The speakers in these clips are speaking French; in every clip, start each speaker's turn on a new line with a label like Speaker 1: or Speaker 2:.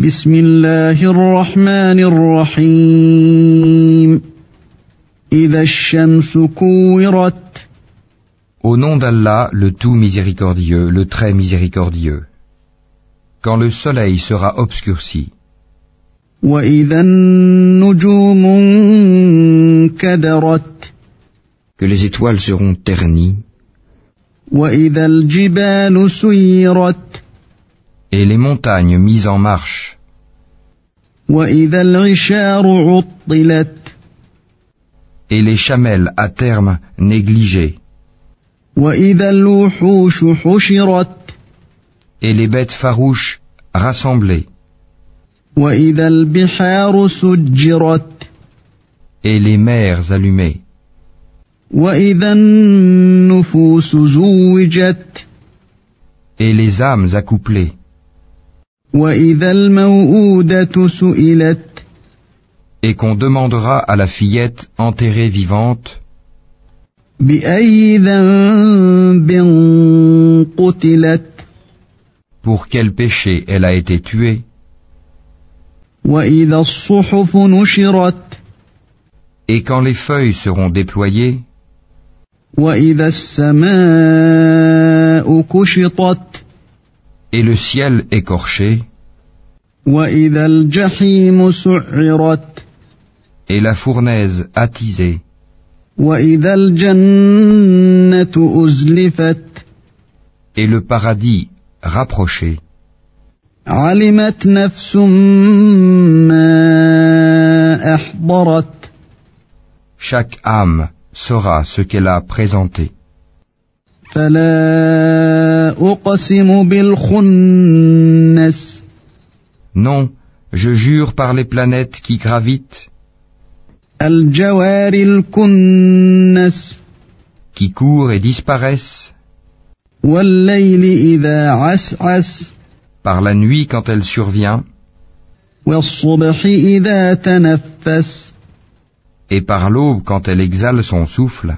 Speaker 1: بسم الله الرحمن الرحيم إذا الشمس كورت
Speaker 2: Au nom d'Allah, le tout miséricordieux, le très miséricordieux. Quand le soleil sera obscurci,
Speaker 1: وإذا النجوم انكدرت
Speaker 2: que les étoiles seront ternies,
Speaker 1: وإذا الجبال سيرت
Speaker 2: et les montagnes mises en marche,
Speaker 1: وإذا العشار عطلت
Speaker 2: et les chamelles à terme négligées,
Speaker 1: وإذا الوحوش حشرت
Speaker 2: et les bêtes farouches rassemblées,
Speaker 1: وإذا البحار سجرت
Speaker 2: et les mers allumées,
Speaker 1: وإذا النفوس زوجت
Speaker 2: et les âmes accouplées,
Speaker 1: وإذا الموءودة سئلت
Speaker 2: et qu'on demandera à la fillette enterrée vivante,
Speaker 1: بأي ذنب قتلت
Speaker 2: pour quel péché elle a été tuée,
Speaker 1: وإذا الصحف نشرت
Speaker 2: et quand les feuilles seront déployées,
Speaker 1: وإذا السماء كشطت
Speaker 2: et le ciel écorché,
Speaker 1: وإذا الجحيم سعرت
Speaker 2: et la fournaise attisée,
Speaker 1: وإذا الجنة أزلفت
Speaker 2: et le paradis rapproché.
Speaker 1: علمت نفس ما أحضرت
Speaker 2: Chaque âme saura ce qu'elle a présenté.
Speaker 1: فلا أقسم بالخنس
Speaker 2: Non, je jure par les planètes qui gravitent,
Speaker 1: الجوار الكنس
Speaker 2: qui courent et disparaissent,
Speaker 1: والليل إذا عسعس
Speaker 2: par la nuit quand elle survient,
Speaker 1: والصبح إذا تنفس
Speaker 2: et par l'aube quand elle exhale son souffle,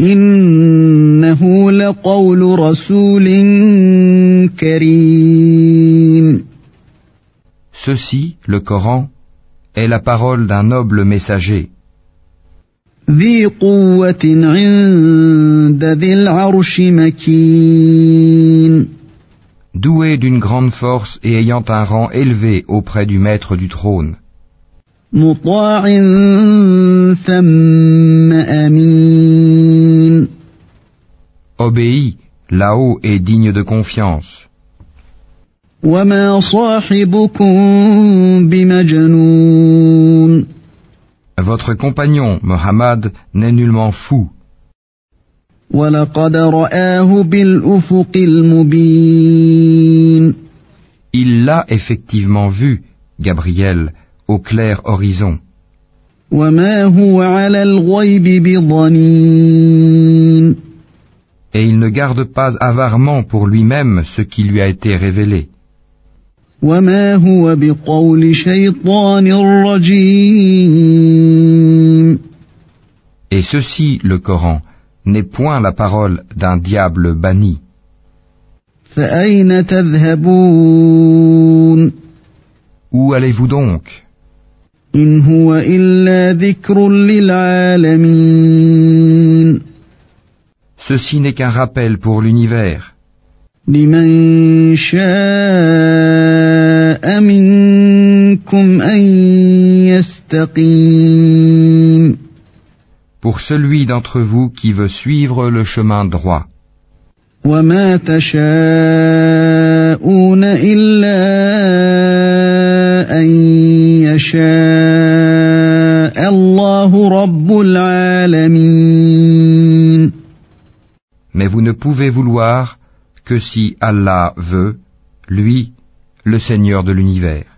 Speaker 1: إنه لقول رسول كريم
Speaker 2: ceci, le Coran, est la parole d'un noble messager,
Speaker 1: ذي قوة عند ذي العرش مكين
Speaker 2: doué d'une grande force et ayant un rang élevé auprès du maître du trône,
Speaker 1: مطاع ثم امين
Speaker 2: obéi, là-haut et digne de confiance.
Speaker 1: وما صاحبكم بمجنون
Speaker 2: Votre compagnon, Mohammed, n'est nullement fou.
Speaker 1: ولقد راه بالافق المبين
Speaker 2: Il l'a effectivement vu, Gabriel, au clair horizon,
Speaker 1: وما هو على الغيب بضنين
Speaker 2: et il ne garde pas avarement pour lui-même ce qui lui a été révélé,
Speaker 1: وما هو بقول شيطان رجيم
Speaker 2: et ceci, le Coran, n'est point la parole d'un diable banni.
Speaker 1: فاين تذهبون
Speaker 2: Où allez-vous donc
Speaker 1: إن هو إلا ذكر للعالمين
Speaker 2: Ceci n'est qu'un rappel pour l'univers,
Speaker 1: لمن شاء منكم أن يستقيم
Speaker 2: pour celui d'entre vous qui veut suivre le chemin droit,
Speaker 1: وما تشاءون إلا أن يشاء الله رب العالمين
Speaker 2: mais vous ne pouvez vouloir que si Allah veut, lui, le Seigneur de l'univers.